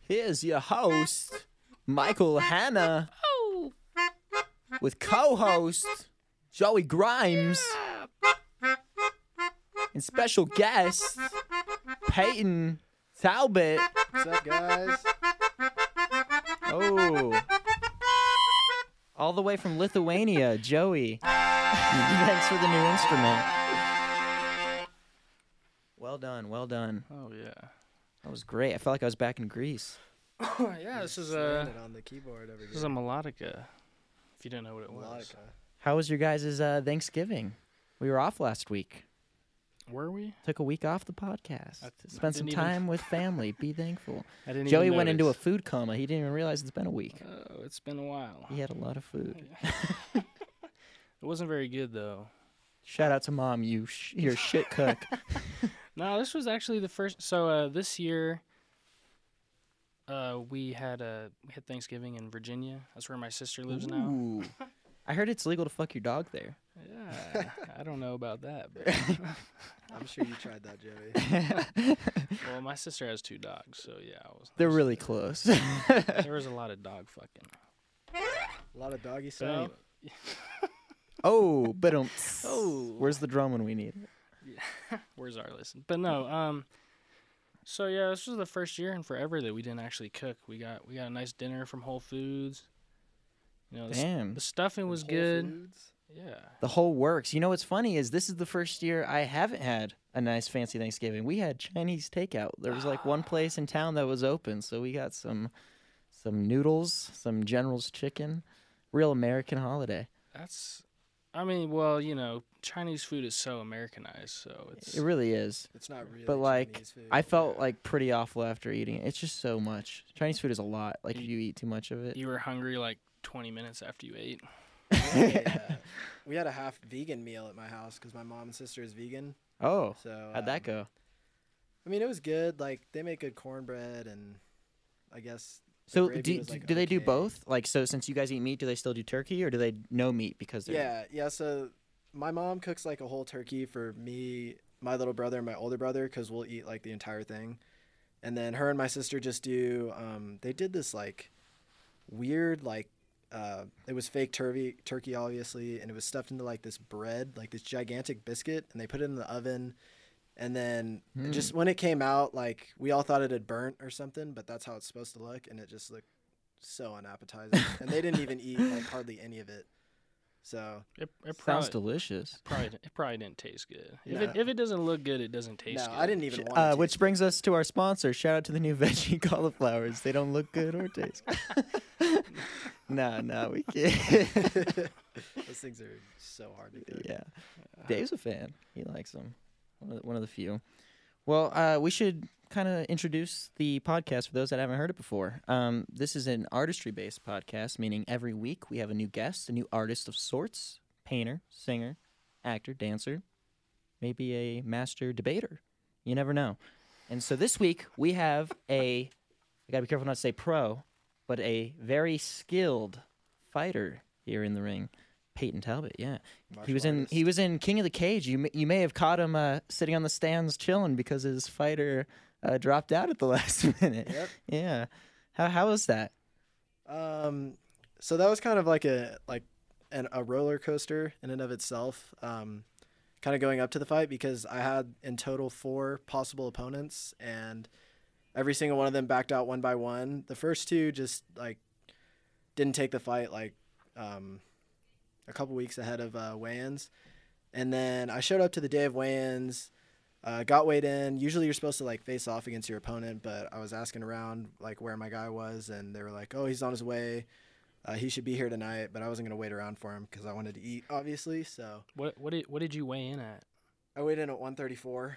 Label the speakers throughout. Speaker 1: Here's your host, Michael Hanna,
Speaker 2: Oh,
Speaker 1: with co host Joey Grimes
Speaker 2: yeah.
Speaker 1: and special guest Peyton Talbot.
Speaker 3: What's up, guys?
Speaker 1: Oh. All the way from Lithuania, Joey. Thanks for the new instrument. Well done, well done.
Speaker 2: Oh yeah.
Speaker 1: That was great. I felt like I was back in Greece.
Speaker 2: Oh, yeah, this
Speaker 1: uh,
Speaker 2: is
Speaker 3: Slamming
Speaker 2: a
Speaker 3: it on the keyboard every
Speaker 2: this is
Speaker 3: day.
Speaker 2: a melodica. If you didn't know what it was,
Speaker 3: Melodica.
Speaker 1: How was your guys' uh, Thanksgiving? We were off last week.
Speaker 2: were we?
Speaker 1: Took a week off the podcast.
Speaker 2: I- I
Speaker 1: Spent some
Speaker 2: didn't even-
Speaker 1: time with family. Be thankful.
Speaker 2: I didn't.
Speaker 1: Joey
Speaker 2: even
Speaker 1: went into a
Speaker 2: notice.
Speaker 1: food coma. He didn't even realize it's been a week.
Speaker 2: Oh, it's been a while.
Speaker 1: He had a lot of
Speaker 2: Oh,
Speaker 1: food.
Speaker 2: It wasn't very good though.
Speaker 1: Shout out to mom, you sh- you're a shit cook.
Speaker 2: No, this was actually the first. So uh, this year, uh, we had uh, we had Thanksgiving in Virginia. That's where my sister lives now.
Speaker 1: Ooh. I heard it's legal to fuck your dog there.
Speaker 2: Yeah, I don't know about that. But,
Speaker 3: I'm sure you tried that, Joey.
Speaker 2: well, my sister has two dogs, so yeah, I was,
Speaker 1: They're really close.
Speaker 2: there was a lot of dog fucking.
Speaker 3: A lot of doggy
Speaker 2: But
Speaker 3: style.
Speaker 2: anyway,
Speaker 1: oh, but um,
Speaker 2: Oh.
Speaker 1: where's the drum when we need it?
Speaker 2: Where's our listen? But no, um so yeah, this was the first year in forever that we didn't actually cook. We got we got a nice dinner from Whole Foods. You know, the, s-
Speaker 1: Damn,
Speaker 2: the stuffing was
Speaker 3: Whole
Speaker 2: good.
Speaker 3: Foods.
Speaker 2: Yeah.
Speaker 1: the whole works. You know what's funny is this is the first year I haven't had a nice fancy Thanksgiving. We had Chinese takeout. There was like one place in town that was open, so we got some some noodles, some General's chicken, real American holiday.
Speaker 2: That's I mean, well, you know, Chinese food is so Americanized, so it's
Speaker 1: It really is.
Speaker 3: It's not really.
Speaker 1: but like
Speaker 3: Chinese food.
Speaker 1: I felt
Speaker 3: Yeah.
Speaker 1: like pretty awful after eating it. It's just so much. Chinese food is a lot. Like if
Speaker 2: Y-
Speaker 1: you eat too much of it.
Speaker 2: you were hungry like 20 minutes after you ate.
Speaker 3: Yeah. we had a half vegan meal at my house because my mom and sister is vegan.
Speaker 1: Oh,
Speaker 3: So
Speaker 1: how'd that
Speaker 3: um,
Speaker 1: go?
Speaker 3: I mean, it was good. Like they make good cornbread, and I guess the
Speaker 1: So
Speaker 3: gravy
Speaker 1: do
Speaker 3: was, like,
Speaker 1: do they do
Speaker 3: okay.
Speaker 1: both? Like so, since you guys eat meat, do they still do turkey or do they no meat because they're
Speaker 3: Yeah, yeah. So my mom cooks like a whole turkey for me, my little brother, and my older brother because we'll eat like the entire thing. And then her and my sister just do. Um, they did this like weird like uh, it was fake turkey, turkey obviously, and it was stuffed into like this bread, like this gigantic biscuit, and they put it in the oven. And then
Speaker 1: Hmm.
Speaker 3: just when it came out, like we all thought it had burnt or something, but that's how it's supposed to look, and it just looked so unappetizing. and they didn't even eat like hardly any of it. So
Speaker 2: It, it
Speaker 1: Sounds
Speaker 2: probably
Speaker 1: delicious.
Speaker 2: probably di- it probably didn't taste good. If it
Speaker 3: No.
Speaker 2: if it doesn't look good, it doesn't taste
Speaker 3: no,
Speaker 2: good.
Speaker 3: I didn't even want.
Speaker 1: Uh,
Speaker 3: to
Speaker 1: which brings us to our sponsor. Shout out to the new veggie cauliflowers. They don't look good or taste. good. no, no, we can't.
Speaker 3: taste it. those things are so hard to cook.
Speaker 1: yeah. Dave's a fan. He likes them. One of the, one of the few. Well, uh, we should kind of introduce the podcast for those that haven't heard it before. Um, this is an artistry based podcast, meaning every week we have a new guest, a new artist of sorts painter, singer, actor, dancer, maybe a master debater. You never know. And so this week we have a, I gotta be careful not to say pro, but a very skilled fighter here in the ring. Peyton Talbot, yeah, he
Speaker 3: Martial
Speaker 1: was in he was in King of the Cage. You may, you may have caught him uh, sitting on the stands chilling because his fighter uh, dropped out at the last minute.
Speaker 3: Yep.
Speaker 1: Yeah, how how was that?
Speaker 3: Um, so that was kind of like a like an, a roller coaster in and of itself. Um, kind of going up to the fight because I had in total four possible opponents, and every single one of them backed out one by one. The first two just like didn't take the fight like um, a couple weeks ahead of uh, weigh-ins, and then I showed up to the day of weigh-ins. Uh, got weighed in. Usually you're supposed to like face off against your opponent, but I was asking around like where my guy was, and they were like, "Oh, he's on his way. Uh, he should be here tonight." But I wasn't gonna wait around for him because I wanted to eat, obviously. So
Speaker 2: What what did what did you weigh in at?
Speaker 3: I weighed in at 134.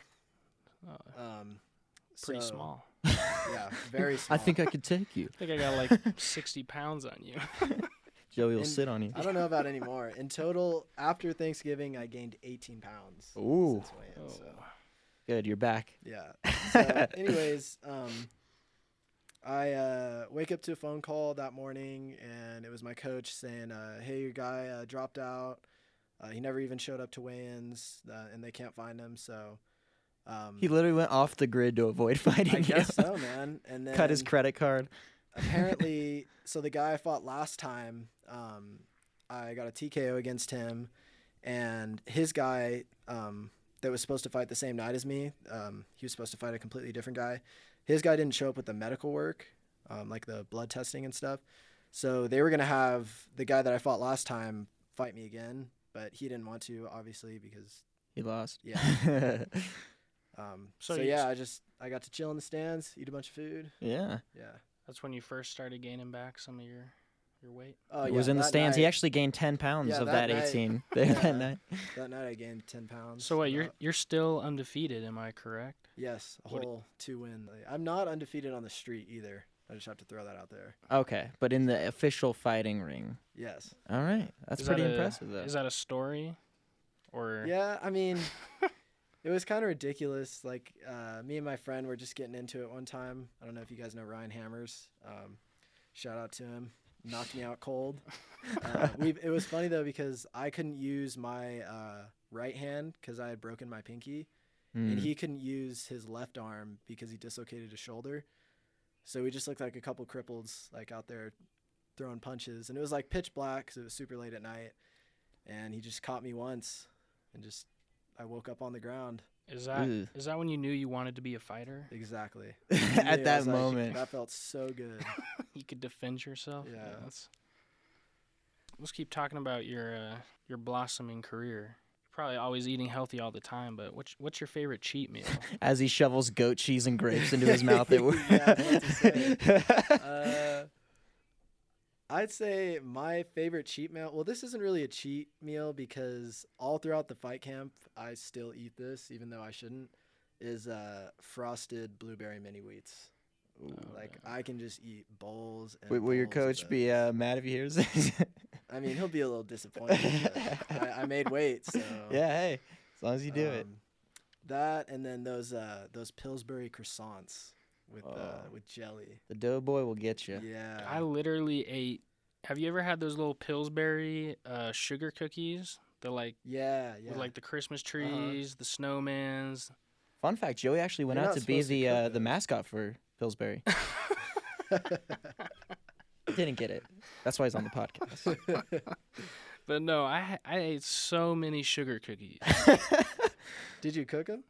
Speaker 2: Oh,
Speaker 3: Um,
Speaker 2: pretty
Speaker 3: so-
Speaker 2: small.
Speaker 3: Yeah, very small.
Speaker 1: I think I could take you.
Speaker 2: I think I got like 60 pounds on you.
Speaker 1: Joey will
Speaker 3: And-
Speaker 1: sit on you.
Speaker 3: I don't know about any more. In total, after Thanksgiving, I gained 18 pounds.
Speaker 1: Ooh.
Speaker 3: since weigh-in,
Speaker 2: Oh.
Speaker 3: so.
Speaker 1: Good, you're back.
Speaker 3: Yeah. So, anyways, um, I uh, wake up to a phone call that morning, and it was my coach saying, uh, "Hey, your guy uh, dropped out. Uh, he never even showed up to weigh-ins, uh, and they can't find him." So Um,
Speaker 1: He literally went off the grid to avoid fighting
Speaker 3: I
Speaker 1: you.
Speaker 3: guess so, man. And then
Speaker 1: Cut his credit card.
Speaker 3: apparently, so the guy I fought last time, um, I got a TKO against him, and his guy um, that was supposed to fight the same night as me, um, he was supposed to fight a completely different guy. His guy didn't show up with the medical work, um, like the blood testing and stuff. So they were gonna have the guy that I fought last time fight me again, but he didn't want to, obviously, because
Speaker 1: He lost.
Speaker 3: Yeah. um,
Speaker 2: So
Speaker 3: so,
Speaker 2: you
Speaker 3: yeah,
Speaker 2: just-
Speaker 3: I just I got to chill in the stands, eat a bunch of food.
Speaker 1: yeah.
Speaker 3: Yeah.
Speaker 2: That's when you first started gaining back some of your your weight.
Speaker 3: Oh,
Speaker 1: it
Speaker 3: yeah,
Speaker 1: was in the
Speaker 3: that
Speaker 1: stands. He
Speaker 3: night-
Speaker 1: actually gained 10 pounds
Speaker 3: Yeah,
Speaker 1: of that,
Speaker 3: that night-
Speaker 1: 18 that
Speaker 3: Yeah.
Speaker 1: night.
Speaker 3: That night I gained ten pounds.
Speaker 2: So wait, you're
Speaker 3: about-
Speaker 2: you're still undefeated, am I correct?
Speaker 3: yes, a
Speaker 2: what-
Speaker 3: whole two win. Like, I'm not undefeated on the street either. I just have to throw that out there.
Speaker 1: Okay, but in the official fighting ring.
Speaker 3: Yes.
Speaker 1: All right. That's
Speaker 2: Is that
Speaker 1: pretty
Speaker 2: a-
Speaker 1: impressive, though.
Speaker 2: Is that a story? Or
Speaker 3: Yeah, I mean, it was kind of ridiculous. Like uh, me and my friend were just getting into it one time. I don't know if you guys know Ryan Hammers. Um, shout out to him. Knocked me out cold. Uh, we it was funny though because I couldn't use my uh, right hand because I had broken my pinky. and
Speaker 1: Mm.
Speaker 3: he couldn't use his left arm because he dislocated his shoulder. So we just looked like a couple cripples, like out there throwing punches, and it was like pitch black because it was super late at night. And he just caught me once, and just I woke up on the ground.
Speaker 2: is that is
Speaker 1: Ooh.
Speaker 2: that when you knew you wanted to be a fighter?
Speaker 3: Exactly. Immediately I
Speaker 1: At that
Speaker 3: was like,
Speaker 1: moment.
Speaker 3: that felt so good.
Speaker 2: you could defend yourself.
Speaker 3: Yeah.
Speaker 2: that's- Let's keep talking about your uh, your blossoming career. You're probably always eating healthy all the time, but what's what's your favorite cheat meal?
Speaker 1: As he shovels goat cheese and grapes into his mouth. It
Speaker 3: Yeah, I was uh, I'd say my favorite cheat meal. Well, this isn't really a cheat meal because all throughout the fight camp, I still eat this, even though I shouldn't. Is uh, frosted blueberry mini wheats. like I can just eat bowls. And
Speaker 1: Oh, Will your
Speaker 3: bowls of
Speaker 1: coach be
Speaker 3: those.
Speaker 1: uh, mad if he hears this?
Speaker 3: I mean, he'll be a little disappointed. but I, I made weight, so
Speaker 1: yeah, hey. As long as you do it.
Speaker 3: um, That and then those uh, those Pillsbury croissants with uh,
Speaker 1: Oh.
Speaker 3: with jelly.
Speaker 1: The doughboy will get you.
Speaker 3: Yeah.
Speaker 2: I literally ate. Have you ever had those little Pillsbury uh, sugar cookies? The like
Speaker 3: Yeah, yeah. Uh-huh.
Speaker 2: with like the Christmas trees, the snowmans.
Speaker 1: Fun fact: Joey actually went
Speaker 3: You're
Speaker 1: out
Speaker 3: not
Speaker 1: to be
Speaker 3: supposed to
Speaker 1: the
Speaker 3: cook
Speaker 1: uh, the
Speaker 3: those.
Speaker 1: mascot for Pillsbury. Didn't get it. That's why he's on the podcast.
Speaker 2: But no, I ha- I ate so many sugar cookies.
Speaker 3: Did you cook them?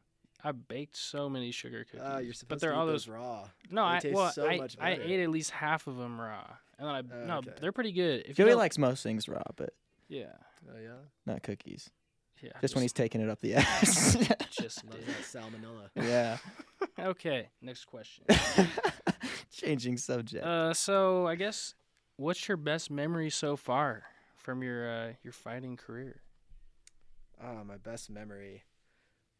Speaker 2: I baked so many sugar cookies.
Speaker 3: Ah, you're supposed
Speaker 2: but they're
Speaker 3: to eat
Speaker 2: all
Speaker 3: those
Speaker 2: those.
Speaker 3: raw.
Speaker 2: No,
Speaker 3: They
Speaker 2: I
Speaker 3: taste
Speaker 2: well
Speaker 3: so
Speaker 2: I,
Speaker 3: much
Speaker 2: I
Speaker 3: better.
Speaker 2: ate at least half of them raw, and then I
Speaker 3: Oh,
Speaker 2: no
Speaker 3: okay.
Speaker 2: they're pretty good. If you
Speaker 1: Joey
Speaker 2: don't-
Speaker 1: likes most things raw, but
Speaker 2: yeah
Speaker 3: Oh yeah,
Speaker 1: not cookies.
Speaker 2: yeah
Speaker 1: Just when he's taking it up the ass.
Speaker 2: just
Speaker 3: love
Speaker 2: did.
Speaker 3: that salmonella.
Speaker 1: yeah.
Speaker 2: okay. Next question.
Speaker 1: Changing subject.
Speaker 2: Uh, so I guess what's your best memory so far from your uh, your fighting career,
Speaker 3: Ah, my best memory.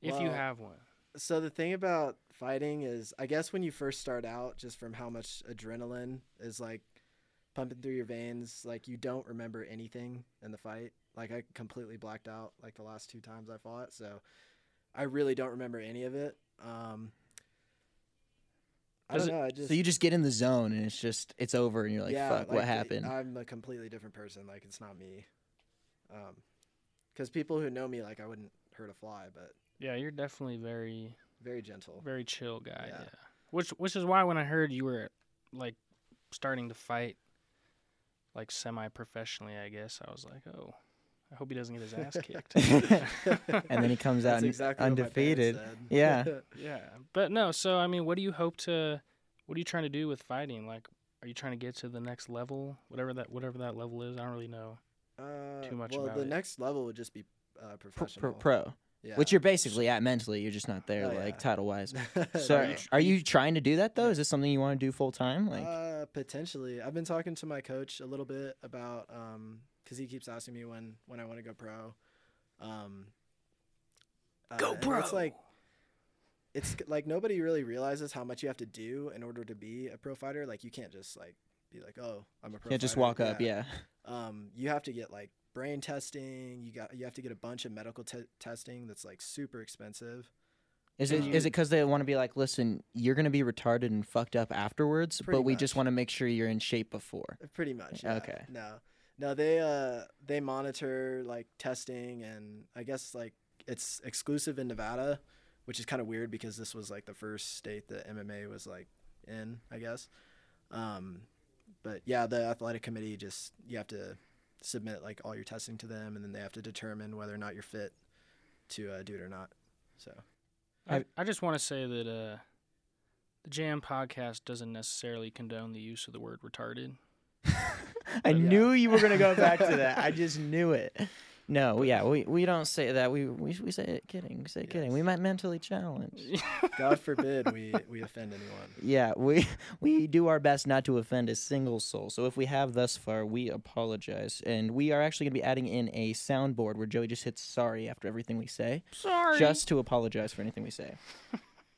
Speaker 2: if you
Speaker 3: Well,
Speaker 2: have one?
Speaker 3: So the thing about fighting is, I guess when you first start out, just from how much adrenaline is like pumping through your veins, like you don't remember anything in the fight. Like I completely blacked out like the last two times I fought, so I really don't remember any of it. Um, I
Speaker 2: Does
Speaker 3: don't know. I just
Speaker 1: so you just get in the zone and it's just it's over and you're like, fuck,
Speaker 3: like,
Speaker 1: what
Speaker 3: it-
Speaker 1: happened?
Speaker 3: I'm a completely different person. Like it's not me. Um, because people who know me, like I wouldn't hurt a fly, but
Speaker 2: Yeah, you're definitely very
Speaker 3: very gentle.
Speaker 2: very chill guy. Yeah.
Speaker 3: Yeah.
Speaker 2: Which which is why when I heard you were like starting to fight like semi professionally, I guess, I was like, Oh, I hope he doesn't get his ass kicked.
Speaker 1: and then he comes out
Speaker 3: That's
Speaker 1: and
Speaker 3: exactly what my parents
Speaker 1: undefeated.
Speaker 3: said.
Speaker 1: Yeah.
Speaker 2: yeah. But no, so I mean what do you hope to what are you trying to do with fighting? Like are you trying to get to the next level? Whatever that whatever that level is, I don't really know.
Speaker 3: uh,
Speaker 2: Too much
Speaker 3: Well,
Speaker 2: about
Speaker 3: the
Speaker 2: it.
Speaker 3: next level would just be uh,
Speaker 1: Pro,
Speaker 3: professional.
Speaker 1: pro, pro.
Speaker 3: yeah.
Speaker 1: Which you're basically at mentally. You're just not there,
Speaker 3: Oh,
Speaker 1: like
Speaker 3: yeah.
Speaker 1: title wise. So
Speaker 3: Sorry.
Speaker 1: are you, trying to do that though? Is this something you want to do full time? Like,
Speaker 3: uh, potentially, I've been talking to my coach a little bit about um, because he keeps asking me when when I want to go pro. Um, uh,
Speaker 2: Go
Speaker 3: and
Speaker 2: pro!
Speaker 3: It's like it's c- like nobody really realizes how much you have to do in order to be a pro fighter. Like you can't just like be like, oh, I'm a pro.
Speaker 1: yeah, just
Speaker 3: fighter."
Speaker 1: walk up. Yeah.
Speaker 3: um, you have to get like brain testing. You got you have to get a bunch of medical te- testing that's like super expensive.
Speaker 1: Is it
Speaker 2: And
Speaker 1: is
Speaker 2: you-
Speaker 1: it because they want to be like, listen, you're gonna be retarded and fucked up afterwards,
Speaker 3: Pretty
Speaker 1: but we just
Speaker 3: much.
Speaker 1: want to make sure you're in shape before.
Speaker 3: Pretty much. yeah.
Speaker 1: Okay.
Speaker 3: No, no, they uh they monitor like testing and I guess like it's exclusive in Nevada, which is kind of weird because this was like the first state that MMA was like in, I guess. Um, but yeah, the athletic committee just you have to submit like all your testing to them, and then they have to determine whether or not you're fit to uh, do it or not. So
Speaker 2: I,
Speaker 1: I've-
Speaker 2: I just want to say that uh, the Jam podcast doesn't necessarily condone the use of the word retarded.
Speaker 1: I
Speaker 3: Yeah.
Speaker 1: knew you were gonna go back to that. I just knew it. No, yeah, we, we don't say that. We we, we say it kidding. We say it kidding. We might mentally challenge.
Speaker 3: God forbid we we offend anyone.
Speaker 1: Yeah, we we do our best not to offend a single soul. So if we have thus far, we apologize, and we are actually gonna be adding in a soundboard where Joey just hits sorry after everything we say,
Speaker 2: Sorry.
Speaker 1: just to apologize for anything we say.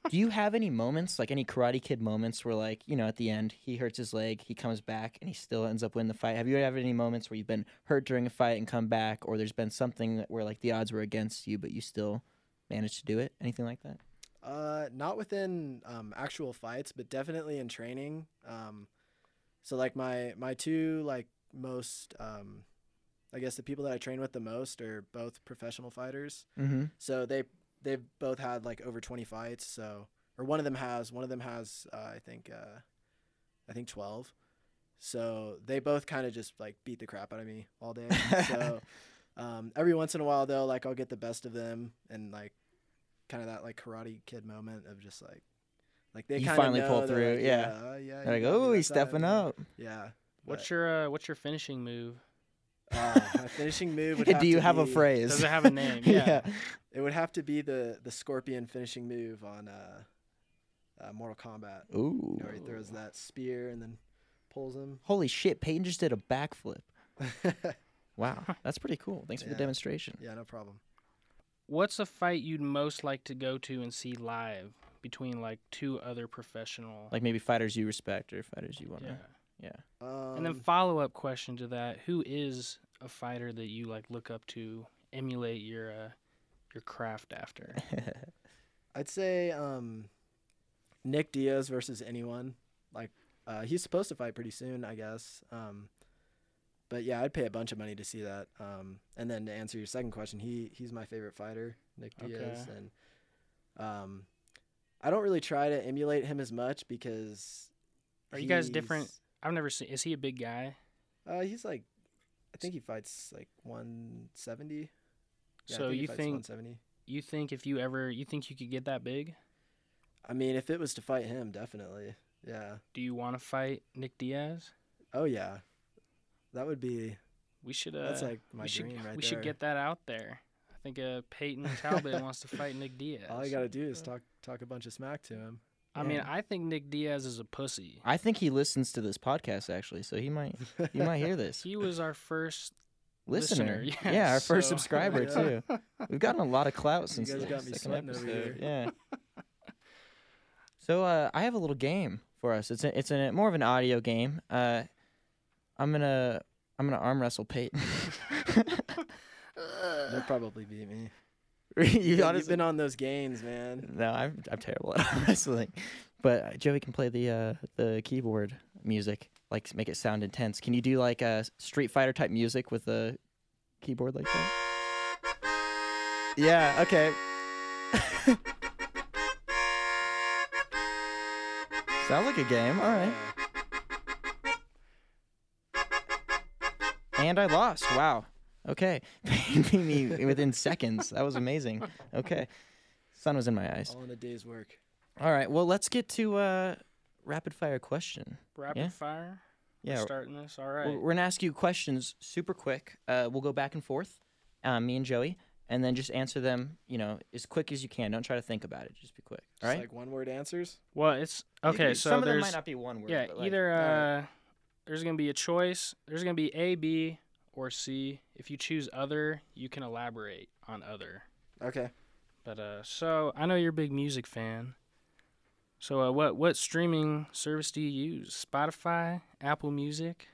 Speaker 1: do you have any moments, like any Karate Kid moments, where like you know at the end he hurts his leg, he comes back, and he still ends up winning the fight? Have you ever had any moments where you've been hurt during a fight and come back, or there's been something that- where like the odds were against you, but you still managed to do it? Anything like that?
Speaker 3: Uh, not within um, actual fights, but definitely in training. Um, so like my my two like most um, I guess the people that I train with the most are both professional fighters.
Speaker 1: Mm-hmm.
Speaker 3: So they they've both had like over twenty fights. So or one of them has one of them has uh, I think uh, I think twelve. So they both kind of just like beat the crap out of me all day. So um, every once in a while though, like I'll get the best of them and like kind of that like karate kid moment of just like like they
Speaker 1: You
Speaker 3: kinda
Speaker 1: finally pull
Speaker 3: know, they're
Speaker 1: through,
Speaker 3: like,
Speaker 1: yeah.
Speaker 3: yeah, uh, yeah.
Speaker 1: They're
Speaker 3: you
Speaker 1: like,
Speaker 3: got me
Speaker 1: oh, he's
Speaker 3: that time,"
Speaker 1: stepping
Speaker 3: and,
Speaker 1: up.
Speaker 3: Yeah.
Speaker 2: What's your uh, what's your finishing move?
Speaker 3: uh, my finishing move? Would
Speaker 1: Do you
Speaker 3: to
Speaker 1: have a
Speaker 3: be-
Speaker 1: phrase?
Speaker 2: Does it have a name? Yeah.
Speaker 3: It would have to be the the scorpion finishing move on uh, uh Mortal Kombat.
Speaker 1: Ooh.
Speaker 3: You know, where he throws that spear and then pulls him.
Speaker 1: Holy shit, Peyton just did a backflip.
Speaker 3: yeah,
Speaker 1: Wow. That's pretty cool. Thanks for the
Speaker 3: Yeah.
Speaker 1: demonstration.
Speaker 3: no problem.
Speaker 2: What's a fight you'd most like to go to and see live between like two other professional?
Speaker 1: Like maybe fighters you respect or fighters you want to.
Speaker 2: yeah.
Speaker 3: Um,
Speaker 2: and then follow up question to that: Who is a fighter that you like look up to, emulate your uh, your craft after?
Speaker 3: I'd say um, Nick Diaz versus anyone. Like uh, he's supposed to fight pretty soon, I guess. Um, but yeah, I'd pay a bunch of money to see that. Um, and then to answer your second question, he he's my favorite fighter, Nick Diaz,
Speaker 2: Okay.
Speaker 3: and um, I don't really try to emulate him as much because.
Speaker 2: Are you guys
Speaker 3: he's-
Speaker 2: different? I've never seen. Is he a big guy?
Speaker 3: Uh, he's like, I think he fights like 170. Yeah, I
Speaker 2: so
Speaker 3: think he
Speaker 2: you
Speaker 3: fights
Speaker 2: think
Speaker 3: 170?
Speaker 2: you think if you ever you think you could get that big?
Speaker 3: I mean, if it was to fight him, definitely. Yeah.
Speaker 2: Do you want to fight Nick Diaz?
Speaker 3: Oh yeah. That would be.
Speaker 2: We should. Uh,
Speaker 3: That's like my
Speaker 2: we should,
Speaker 3: dream right
Speaker 2: we
Speaker 3: there.
Speaker 2: should get that out there. I think uh, Peyton Talbot wants to fight Nick Diaz.
Speaker 3: All you gotta do is talk talk a bunch of smack to him.
Speaker 2: I mean,
Speaker 1: Yeah.
Speaker 2: I think Nick Diaz is a pussy.
Speaker 1: I think he listens to this podcast actually, so he might you might hear this.
Speaker 2: He was our first.
Speaker 1: Listener.
Speaker 2: Listener,
Speaker 1: Yeah,
Speaker 2: yeah,
Speaker 1: our first
Speaker 2: so-
Speaker 1: subscriber
Speaker 3: Yeah.
Speaker 1: too. We've gotten a lot of clout since
Speaker 3: guys
Speaker 1: the
Speaker 3: got me
Speaker 1: second
Speaker 3: sweating over
Speaker 1: episode. Yeah. So uh, I have a little game for us. It's a, it's a more of an audio game. Uh, I'm gonna I'm gonna arm wrestle Peyton.
Speaker 3: They'll probably beat me.
Speaker 1: you
Speaker 3: You
Speaker 1: honestly-
Speaker 3: have been on those games, man.
Speaker 1: No, I'm I'm terrible at arm wrestling. But uh, Joey can play the uh, the keyboard music, like s- make it sound intense. Can you do like a Street Fighter type music with a keyboard like that? Yeah. Okay. Sounds like a game. All right.
Speaker 3: Uh,
Speaker 1: And I lost. Wow. Okay. Beat me within seconds. That was amazing. Okay. Sun was in my eyes.
Speaker 3: All in a day's work.
Speaker 1: All right. Well, let's get to uh, rapid fire question.
Speaker 2: Rapid
Speaker 1: Yeah.
Speaker 2: fire. We're
Speaker 1: Yeah,
Speaker 2: starting this. All
Speaker 1: we're,
Speaker 2: right.
Speaker 1: we're gonna ask you questions super quick. Uh, we'll go back and forth, uh, me and Joey, and then just answer them. You know, as quick as you can. Don't try to think about it. Just be quick. All
Speaker 3: Just
Speaker 1: right.
Speaker 3: like one word answers.
Speaker 2: Well, it's
Speaker 1: You
Speaker 2: okay.
Speaker 1: can-
Speaker 2: so
Speaker 1: some of them
Speaker 2: there's
Speaker 1: might not be one word.
Speaker 2: yeah.
Speaker 1: but, like-
Speaker 2: either
Speaker 3: all
Speaker 2: uh, there's gonna be a choice. There's gonna be A, B, or C. If you choose other, you can elaborate on other.
Speaker 3: Okay.
Speaker 2: But uh, so I know you're a big music fan. So uh, what what streaming service do you use? Spotify, Apple Music,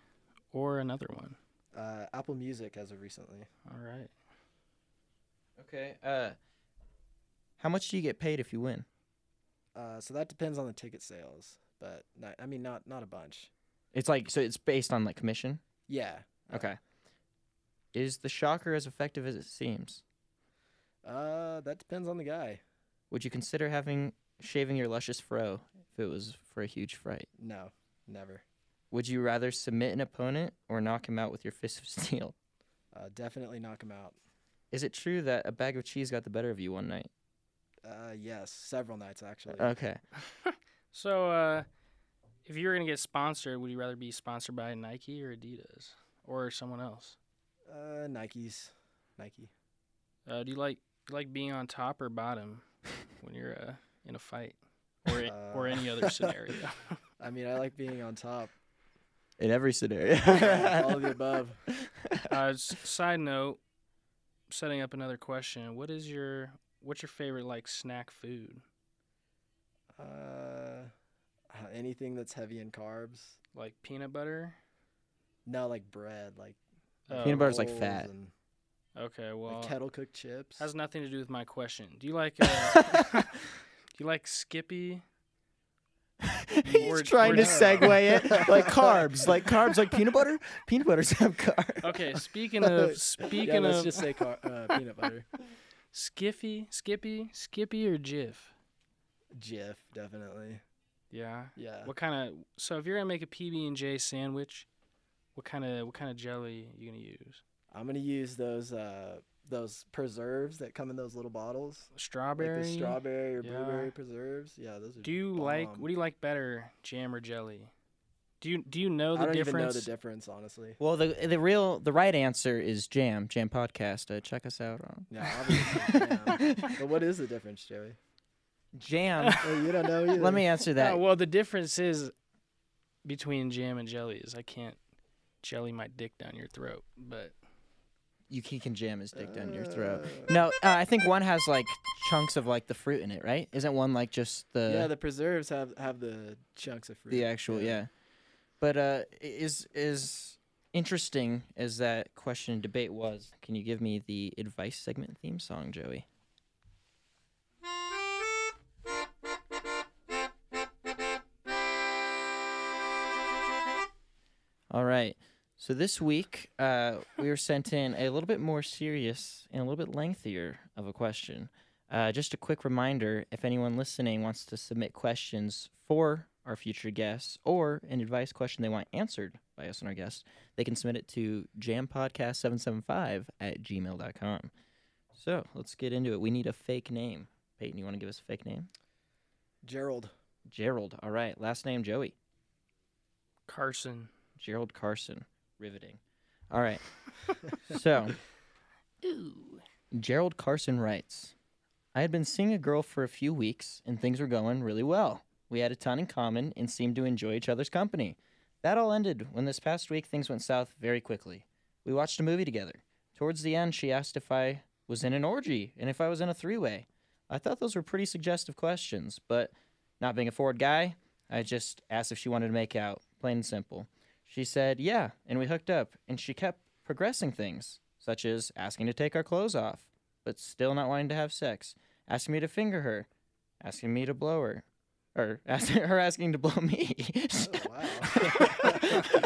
Speaker 2: or another one?
Speaker 3: Uh, Apple Music as of recently.
Speaker 2: All right.
Speaker 1: Okay. Uh, how much do you get paid if you win?
Speaker 3: Uh, so that depends on the ticket sales, but not, I mean, not not a bunch.
Speaker 1: It's like so. It's based on like commission.
Speaker 3: Yeah.
Speaker 1: Okay. Is the shocker as effective as it seems?
Speaker 3: Uh, that depends on the guy.
Speaker 1: Would you consider having shaving your luscious fro if it was for a huge fright?
Speaker 3: No, never.
Speaker 1: Would you rather submit an opponent or knock him out with your fist of steel?
Speaker 3: Uh, definitely knock him out.
Speaker 1: Is it true that a bag of cheese got the better of you one night?
Speaker 3: Uh, yes, several nights actually.
Speaker 1: Okay.
Speaker 2: So, uh, if you were gonna get sponsored, would you rather be sponsored by Nike or Adidas or someone else?
Speaker 3: Uh, Nikes, Nike.
Speaker 2: Uh, do you like do you like being on top or bottom when you're uh, in a fight or i-
Speaker 3: Uh,
Speaker 2: or any other scenario?
Speaker 3: I mean, I like being on top.
Speaker 1: In every scenario.
Speaker 3: All of the above.
Speaker 2: uh, s- side note, setting up another question. What is your what's your favorite like snack food?
Speaker 3: Uh, anything that's heavy in carbs.
Speaker 2: Like peanut butter?
Speaker 3: No, like bread, like
Speaker 2: Oh,
Speaker 1: Peanut butter's like
Speaker 3: rolls
Speaker 1: fat.
Speaker 3: and,
Speaker 2: Okay, well,
Speaker 3: like, kettle cooked chips.
Speaker 2: has nothing to do with my question. Do you like uh, do you like Skippy?
Speaker 1: He's
Speaker 2: We're-
Speaker 1: trying
Speaker 2: we're
Speaker 1: to
Speaker 2: not-
Speaker 1: segue it like carbs, like carbs, like peanut butter. Peanut butters have carbs.
Speaker 2: Okay, speaking of
Speaker 3: yeah,
Speaker 2: speaking
Speaker 3: let's
Speaker 2: of
Speaker 3: just say car- uh, peanut butter.
Speaker 2: Skiffy, Skippy, Skippy or Jiff?
Speaker 3: Jif, definitely.
Speaker 2: Yeah.
Speaker 3: Yeah.
Speaker 2: What kind of so if you're gonna make a PB and J sandwich, what kind of what kind of jelly you gonna use?
Speaker 3: I'm gonna use those uh those preserves that come in those little bottles,
Speaker 2: Strawberry.
Speaker 3: like the strawberry or
Speaker 2: yeah.
Speaker 3: blueberry preserves. Yeah, those are.
Speaker 2: Do you like
Speaker 3: bomb.
Speaker 2: what do you like better, jam or jelly? Do you do you know
Speaker 3: I
Speaker 2: the
Speaker 3: don't even know
Speaker 2: difference?
Speaker 3: the difference, honestly.
Speaker 1: Well, the the real the right answer is Jam Jam Podcast. Uh, check us out on
Speaker 3: Yeah, obviously. yeah. But what is the difference, Joey?
Speaker 1: Jam.
Speaker 3: Oh, you don't know either.
Speaker 1: Let me answer that.
Speaker 2: No, well, the difference is between jam and jelly is I can't jelly my dick down your throat, but
Speaker 1: You can, can jam his dick down your throat. No, uh, I think one has like chunks of like the fruit in it, right? Isn't one like just the
Speaker 3: yeah, the preserves have have the chunks of fruit.
Speaker 1: Uh, the actual yeah. But uh, i- is is interesting as that question and debate was. Can you give me the advice segment theme song, Joey? All right. So this week, uh, we were sent in a little bit more serious and a little bit lengthier of a question. Uh, just a quick reminder if anyone listening wants to submit questions for our future guests or an advice question they want answered by us and our guests, they can submit it to jampodcast775 at gmail.com. So let's get into it. We need a fake name. Peyton, you want to give us a fake name?
Speaker 3: Gerald.
Speaker 1: Gerald. All right. Last name, Joey.
Speaker 2: Carson.
Speaker 1: Gerald Carson. Riveting. All right. so.
Speaker 2: Ooh.
Speaker 1: Gerald Carson writes I had been seeing a girl for a few weeks and things were going really well. We had a ton in common and seemed to enjoy each other's company. That all ended when this past week things went south very quickly. We watched a movie together. Towards the end, she asked if I was in an orgy and if I was in a three way. I thought those were pretty suggestive questions, but not being a forward guy, I just asked if she wanted to make out, plain and simple. She said, yeah, and we hooked up, and she kept progressing things, such as asking to take our clothes off, but still not wanting to have sex, asking me to finger her, asking me to blow her, or asking her asking to blow me.
Speaker 3: Oh, wow. That's a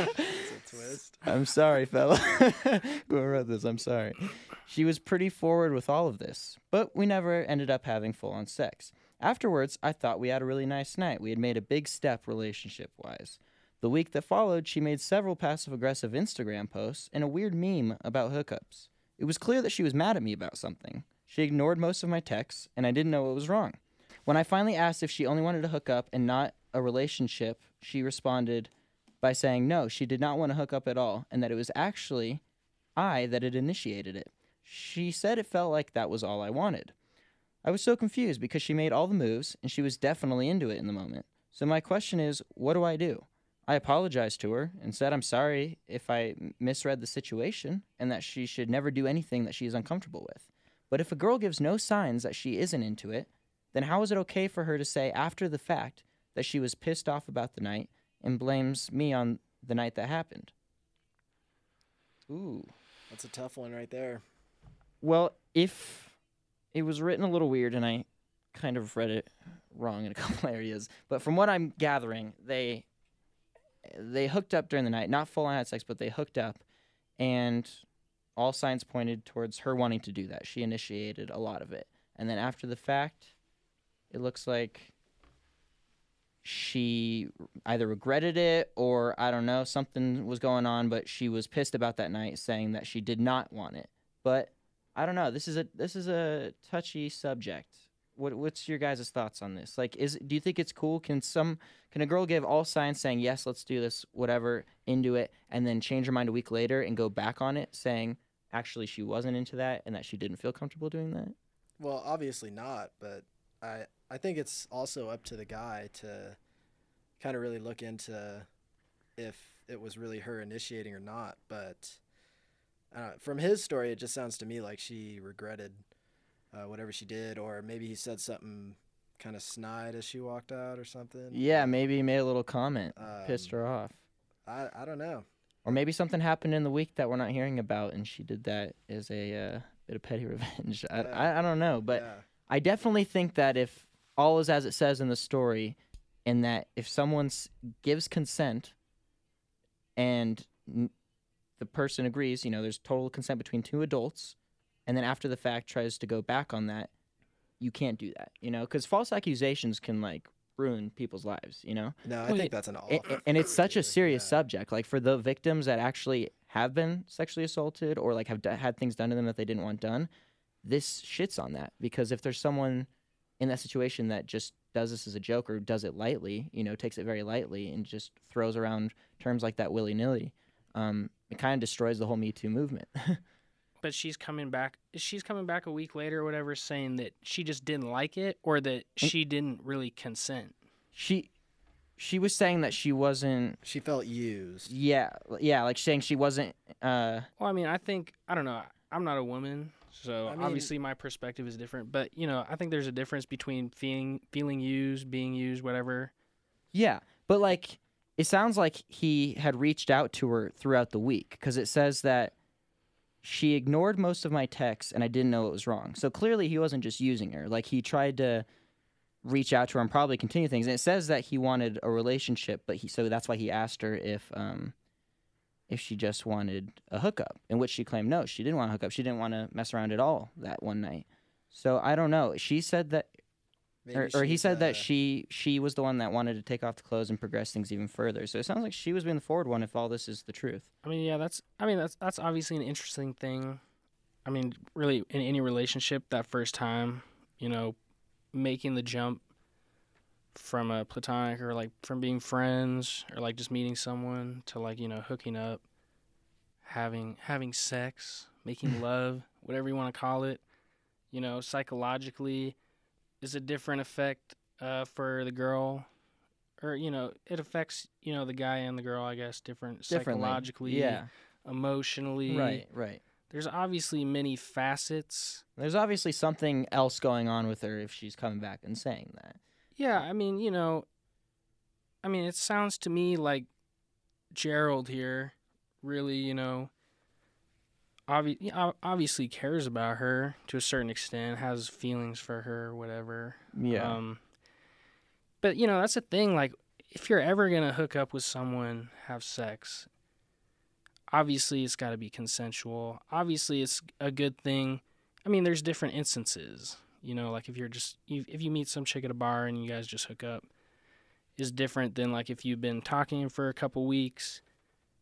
Speaker 3: twist.
Speaker 1: I'm sorry, fella. Whoever wrote this, I'm sorry. She was pretty forward with all of this, but we never ended up having full on sex. Afterwards, I thought we had a really nice night. We had made a big step relationship wise. The week that followed, she made several passive aggressive Instagram posts and a weird meme about hookups. It was clear that she was mad at me about something. She ignored most of my texts, and I didn't know what was wrong. When I finally asked if she only wanted to hook up and not a relationship, she responded, by saying no, she did not want to hook up at all, and that it was actually I that had initiated it. She said it felt like that was all I wanted. I was so confused because she made all the moves and she was definitely into it in the moment. So my question is, what do I do? I apologized to her and said I'm sorry if I m- misread the situation and that she should never do anything that she is uncomfortable with. But if a girl gives no signs that she isn't into it, then how is it okay for her to say after the fact that she was pissed off about the night and blames me on the night that happened? Ooh.
Speaker 3: That's a tough one right there.
Speaker 1: Well, if it was written a little weird and I kind of read it wrong in a couple areas, but from what I'm gathering, they they hooked up during the night, not full on had sex, but they hooked up and all signs pointed towards her wanting to do that. She initiated a lot of it. And then after the fact, It looks like she either regretted it or I don't know, something was going on, but she was pissed about that night saying that she did not want it. But I don't know. This is a this is a touchy subject. What what's your guys' thoughts on this? Like is do you think it's cool? Can some can a girl give all signs saying yes, let's do this, whatever, into it, and then change her mind a week later and go back on it saying actually she wasn't into that and that she didn't feel comfortable doing that?
Speaker 3: Well, obviously not, but I I think it's also up to the guy to kind of really look into if it was really her initiating or not. But uh, from his story, it just sounds to me like she regretted uh, whatever she did, or maybe he said something kind of snide as she walked out or something.
Speaker 1: Yeah, maybe he made a little comment, pissed
Speaker 3: Um,
Speaker 1: her off.
Speaker 3: I I don't know.
Speaker 1: Or maybe something happened in the week that we're not hearing about, and she did that as a uh, bit of petty revenge. I,
Speaker 3: Yeah.
Speaker 1: I, I don't know, but
Speaker 3: Yeah.
Speaker 1: I definitely think that if all is as it says in the story, and that if someone s- gives consent and n- the person agrees, you know, there's total consent between two adults, and then after the fact tries to go back on that, you can't do that, you know, because false accusations can like ruin people's lives, you know?
Speaker 3: no, I
Speaker 2: Well,
Speaker 3: think
Speaker 2: yeah,
Speaker 3: that's an awful.
Speaker 1: and, and it's such a
Speaker 3: idea.
Speaker 1: serious
Speaker 3: Yeah.
Speaker 1: subject like for the victims that actually have been sexually assaulted or like have d- had things done to them that they didn't want done this shits on that because if there's someone in that situation that just does this as a joke or does it lightly you know takes it very lightly and just throws around terms like that willy-nilly um, it kind of destroys the whole me too movement
Speaker 2: But she's coming back. She's coming back a week later or whatever, saying that she just didn't like it or
Speaker 3: Mm.
Speaker 2: that she didn't really consent.
Speaker 1: she she was saying that she wasn't
Speaker 3: She felt used.
Speaker 1: yeah yeah like saying she wasn't uh
Speaker 2: Well, I mean, I think I don't know. I'm not a woman, so
Speaker 3: I mean-
Speaker 2: obviously my perspective is different. But you know, I think there's a difference between feeling feeling used, being used, whatever.
Speaker 1: Yeah, but like it sounds like he had reached out to her throughout the week because it says that she ignored most of my texts and I didn't know it was wrong. So clearly he wasn't just using her. Like he tried to reach out to her and probably continue things. And it says that he wanted a relationship, but he so that's why he asked her if um if she just wanted a hookup, in which she claimed no, she didn't want a hookup. She didn't want to mess around at all that one night. So I don't know. She said that or,
Speaker 3: Maybe
Speaker 1: or he
Speaker 3: she's,
Speaker 1: said
Speaker 3: uh,
Speaker 1: that she she was the one that wanted to take off the clothes and progress things even further. So it sounds like she was being the forward one if all this is the truth.
Speaker 2: I mean, yeah, that's I mean that's that's obviously an interesting thing. I mean, really, in any relationship, that first time, you know, making the jump from a platonic or like from being friends or like just meeting someone to like you know hooking up, having having sex, making love, whatever you want to call it, you know, psychologically, is a different effect uh, for the girl. Or you know, it affects you know the guy and the girl, I guess, different
Speaker 1: Differently.
Speaker 2: psychologically
Speaker 1: yeah,
Speaker 2: emotionally.
Speaker 1: right, right.
Speaker 2: There's obviously many facets.
Speaker 1: There's obviously something else going on with her if she's coming back and saying that.
Speaker 2: Yeah, I mean, you know, I mean, it sounds to me like Gerald here really, you know, obvi- yeah, ob- obviously cares about her to a certain extent, has feelings for her, whatever. Um, but you know, that's the thing. Like, if you're ever gonna hook up with someone, have sex, obviously it's got to be consensual. Obviously, it's a good thing. I mean, there's different instances. You know, like if you're just if if you meet some chick at a bar and you guys just hook up, is different than like if you've been talking for a couple weeks,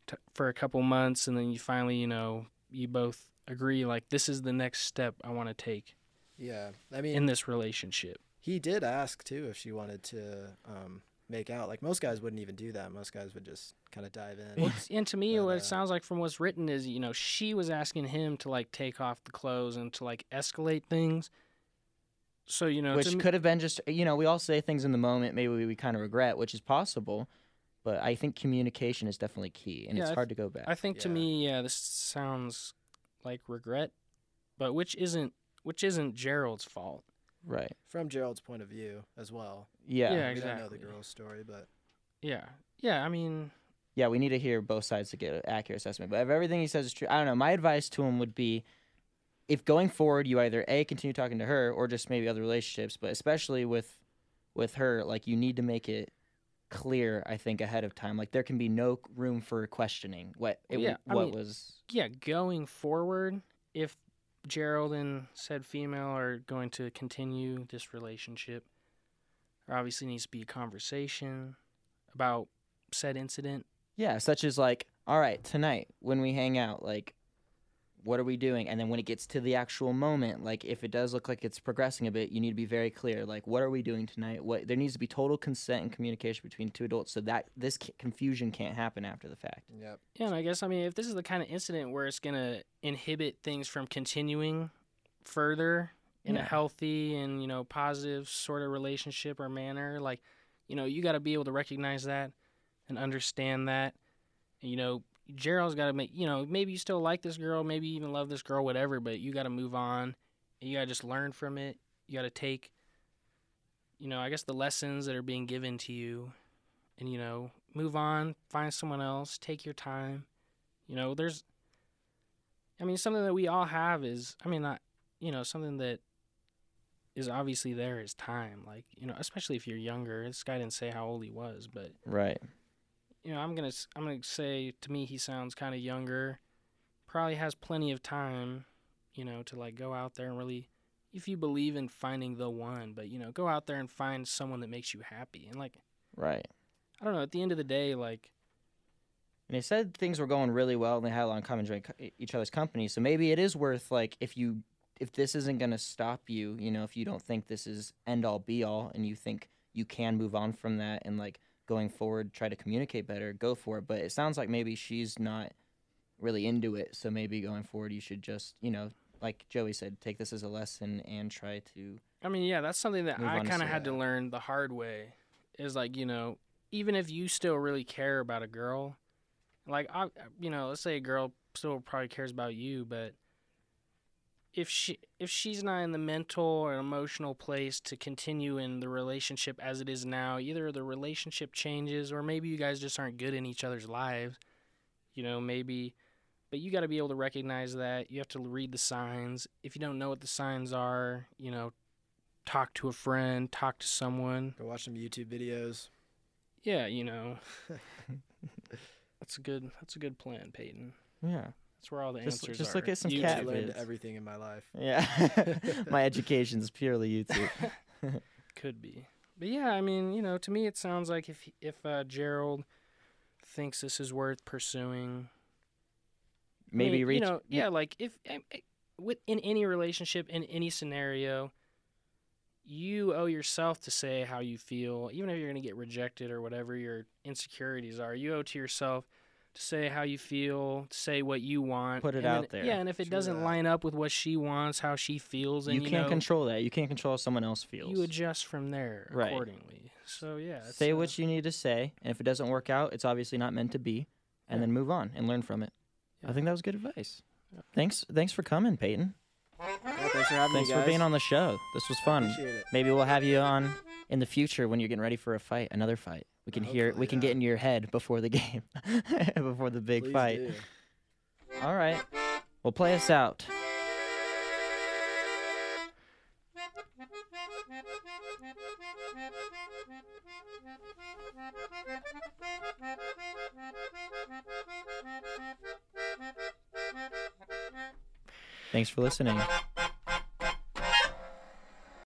Speaker 2: t- for a couple months, and then you finally, you know, you both agree like this is the next step I want to take
Speaker 3: Yeah, I mean,
Speaker 2: in this relationship.
Speaker 3: he did ask too if she wanted to um, make out. Like most guys wouldn't even do that. Most guys would just kind of dive in.
Speaker 2: Well, it's- and to me,
Speaker 3: But,
Speaker 2: what
Speaker 3: uh,
Speaker 2: it sounds like from what's written is, you know, she was asking him to like take off the clothes and to like escalate things. So you know, to
Speaker 1: which
Speaker 2: me-
Speaker 1: could have been just you know we all say things in the moment maybe we, we kind of regret, which is possible. But I think communication is definitely key, and
Speaker 2: Yeah,
Speaker 1: it's
Speaker 2: I
Speaker 1: hard to go back.
Speaker 2: I think to
Speaker 3: Yeah.
Speaker 2: me, yeah, this sounds like regret, but which isn't which isn't Gerald's fault.
Speaker 1: right?
Speaker 3: From Gerald's point of view as well.
Speaker 1: Yeah.
Speaker 2: Yeah.
Speaker 1: yeah,
Speaker 3: We don't know the
Speaker 2: exactly.
Speaker 3: girl's story, but
Speaker 2: Yeah, yeah. I mean,
Speaker 1: We need to hear both sides to get an accurate assessment. But if everything he says is true, I don't know. My advice to him would be if going forward you either a continue talking to her or just maybe other relationships but especially with with her like you need to make it clear i think ahead of time like there can be no room for questioning what it,
Speaker 2: Yeah, I
Speaker 1: what
Speaker 2: mean-
Speaker 1: was
Speaker 2: yeah, going forward, if Gerald and said female are going to continue this relationship, There obviously needs to be a conversation about said incident.
Speaker 1: Yeah, such as like, all right, tonight when we hang out, like, what are we doing? And then when it gets to the actual moment, like, if it does look like it's progressing a bit, you need to be very clear. Like, what are we doing tonight? What there needs to be total consent and communication between two adults, so that this c- confusion can't happen after the fact.
Speaker 3: Yep.
Speaker 2: Yeah, and I guess I mean if this is the kind of incident where it's gonna inhibit things from continuing further in a
Speaker 1: Yeah.
Speaker 2: healthy and you know positive sort of relationship or manner, like you know you got to be able to recognize that and understand that. And, you know, Gerald's got to make you know maybe you still like this girl, maybe you even love this girl, whatever, but you got to move on. And you got to just learn from it. You got to take, you know, I guess the lessons that are being given to you and you know move on find someone else take your time you know there's i mean something that we all have is i mean not you know something that is obviously there is time like you know especially if you're younger this guy didn't say how old he was but
Speaker 1: Right.
Speaker 2: you know i'm gonna s- i'm gonna say to me he sounds kind of younger probably has plenty of time you know to like go out there and really if you believe in finding the one but you know go out there and find someone that makes you happy and like
Speaker 1: Right.
Speaker 2: i don't know at the end of the day like
Speaker 1: And they said things were going really well, and they had a lot in common during co- e, each other's company. So maybe it is worth like if you if this isn't going to stop you, you know, if you don't think this is end all be all, and you think you can move on from that and like going forward try to communicate better, go for it. But it sounds like maybe she's not really into it, so maybe going forward you should just you know, like Joey said, take this as a lesson and try to
Speaker 2: I mean, yeah, that's something that
Speaker 1: Move
Speaker 2: I
Speaker 1: on to
Speaker 2: kind of
Speaker 1: say
Speaker 2: had to
Speaker 1: that.
Speaker 2: learn the hard way. Is like, you know, even if you still really care about a girl, like, I, you know, let's say a girl still probably cares about you, but if she if she's not in the mental or emotional place to continue in the relationship as it is now, either the relationship changes or maybe you guys just aren't good in each other's lives. You know, maybe but you got to be able to recognize that. You have to read the signs. If you don't know what the signs are, you know, talk to a friend, talk to someone.
Speaker 3: Go watch some YouTube videos.
Speaker 2: Yeah, you know. that's a good that's a good plan, Peyton.
Speaker 1: yeah
Speaker 2: That's where all the
Speaker 1: Just-
Speaker 2: answers
Speaker 1: just
Speaker 2: are.
Speaker 1: look at some
Speaker 2: YouTube.
Speaker 1: cat
Speaker 3: I learned
Speaker 1: vids.
Speaker 3: everything in my life.
Speaker 1: yeah. My education's purely YouTube.
Speaker 2: Could be. But yeah, I mean, you know, to me it sounds like if if uh, Gerald thinks this is worth pursuing, I
Speaker 1: Maybe
Speaker 2: mean,
Speaker 1: reach
Speaker 2: You know, yeah, like if em- eh, with in any relationship in any scenario, you owe yourself to say how you feel, even if you're going to get rejected or whatever your insecurities are. You owe to yourself to say how you feel, to say what you want,
Speaker 1: Put it
Speaker 2: and then-
Speaker 1: out there.
Speaker 2: Yeah, and if it
Speaker 3: True
Speaker 2: doesn't
Speaker 3: that.
Speaker 2: line up with what she wants, how she feels, and
Speaker 1: you
Speaker 2: you,
Speaker 1: can't
Speaker 2: know,
Speaker 1: control that. You can't control how someone else feels.
Speaker 2: you adjust from there
Speaker 1: Right.
Speaker 2: accordingly. So yeah, it's,
Speaker 1: say
Speaker 2: uh,
Speaker 1: what you need to say, and if it doesn't work out, it's obviously not meant to be, and
Speaker 2: Yeah.
Speaker 1: then move on and learn from it.
Speaker 2: Yeah.
Speaker 1: I think that was good advice. Thanks, thanks for coming, Peyton.
Speaker 3: Well, thanks for having
Speaker 1: Thanks
Speaker 3: me, guys.
Speaker 1: for being on the show. This was fun.
Speaker 3: Appreciate it.
Speaker 1: Maybe we'll have you on in the future when you're getting ready for a fight, another fight. We can hear,
Speaker 3: Hopefully,
Speaker 1: we can
Speaker 3: yeah.
Speaker 1: get in your head before the game, before the big
Speaker 3: Please
Speaker 1: fight.
Speaker 3: do.
Speaker 1: All right, well, play us out. Thanks for listening.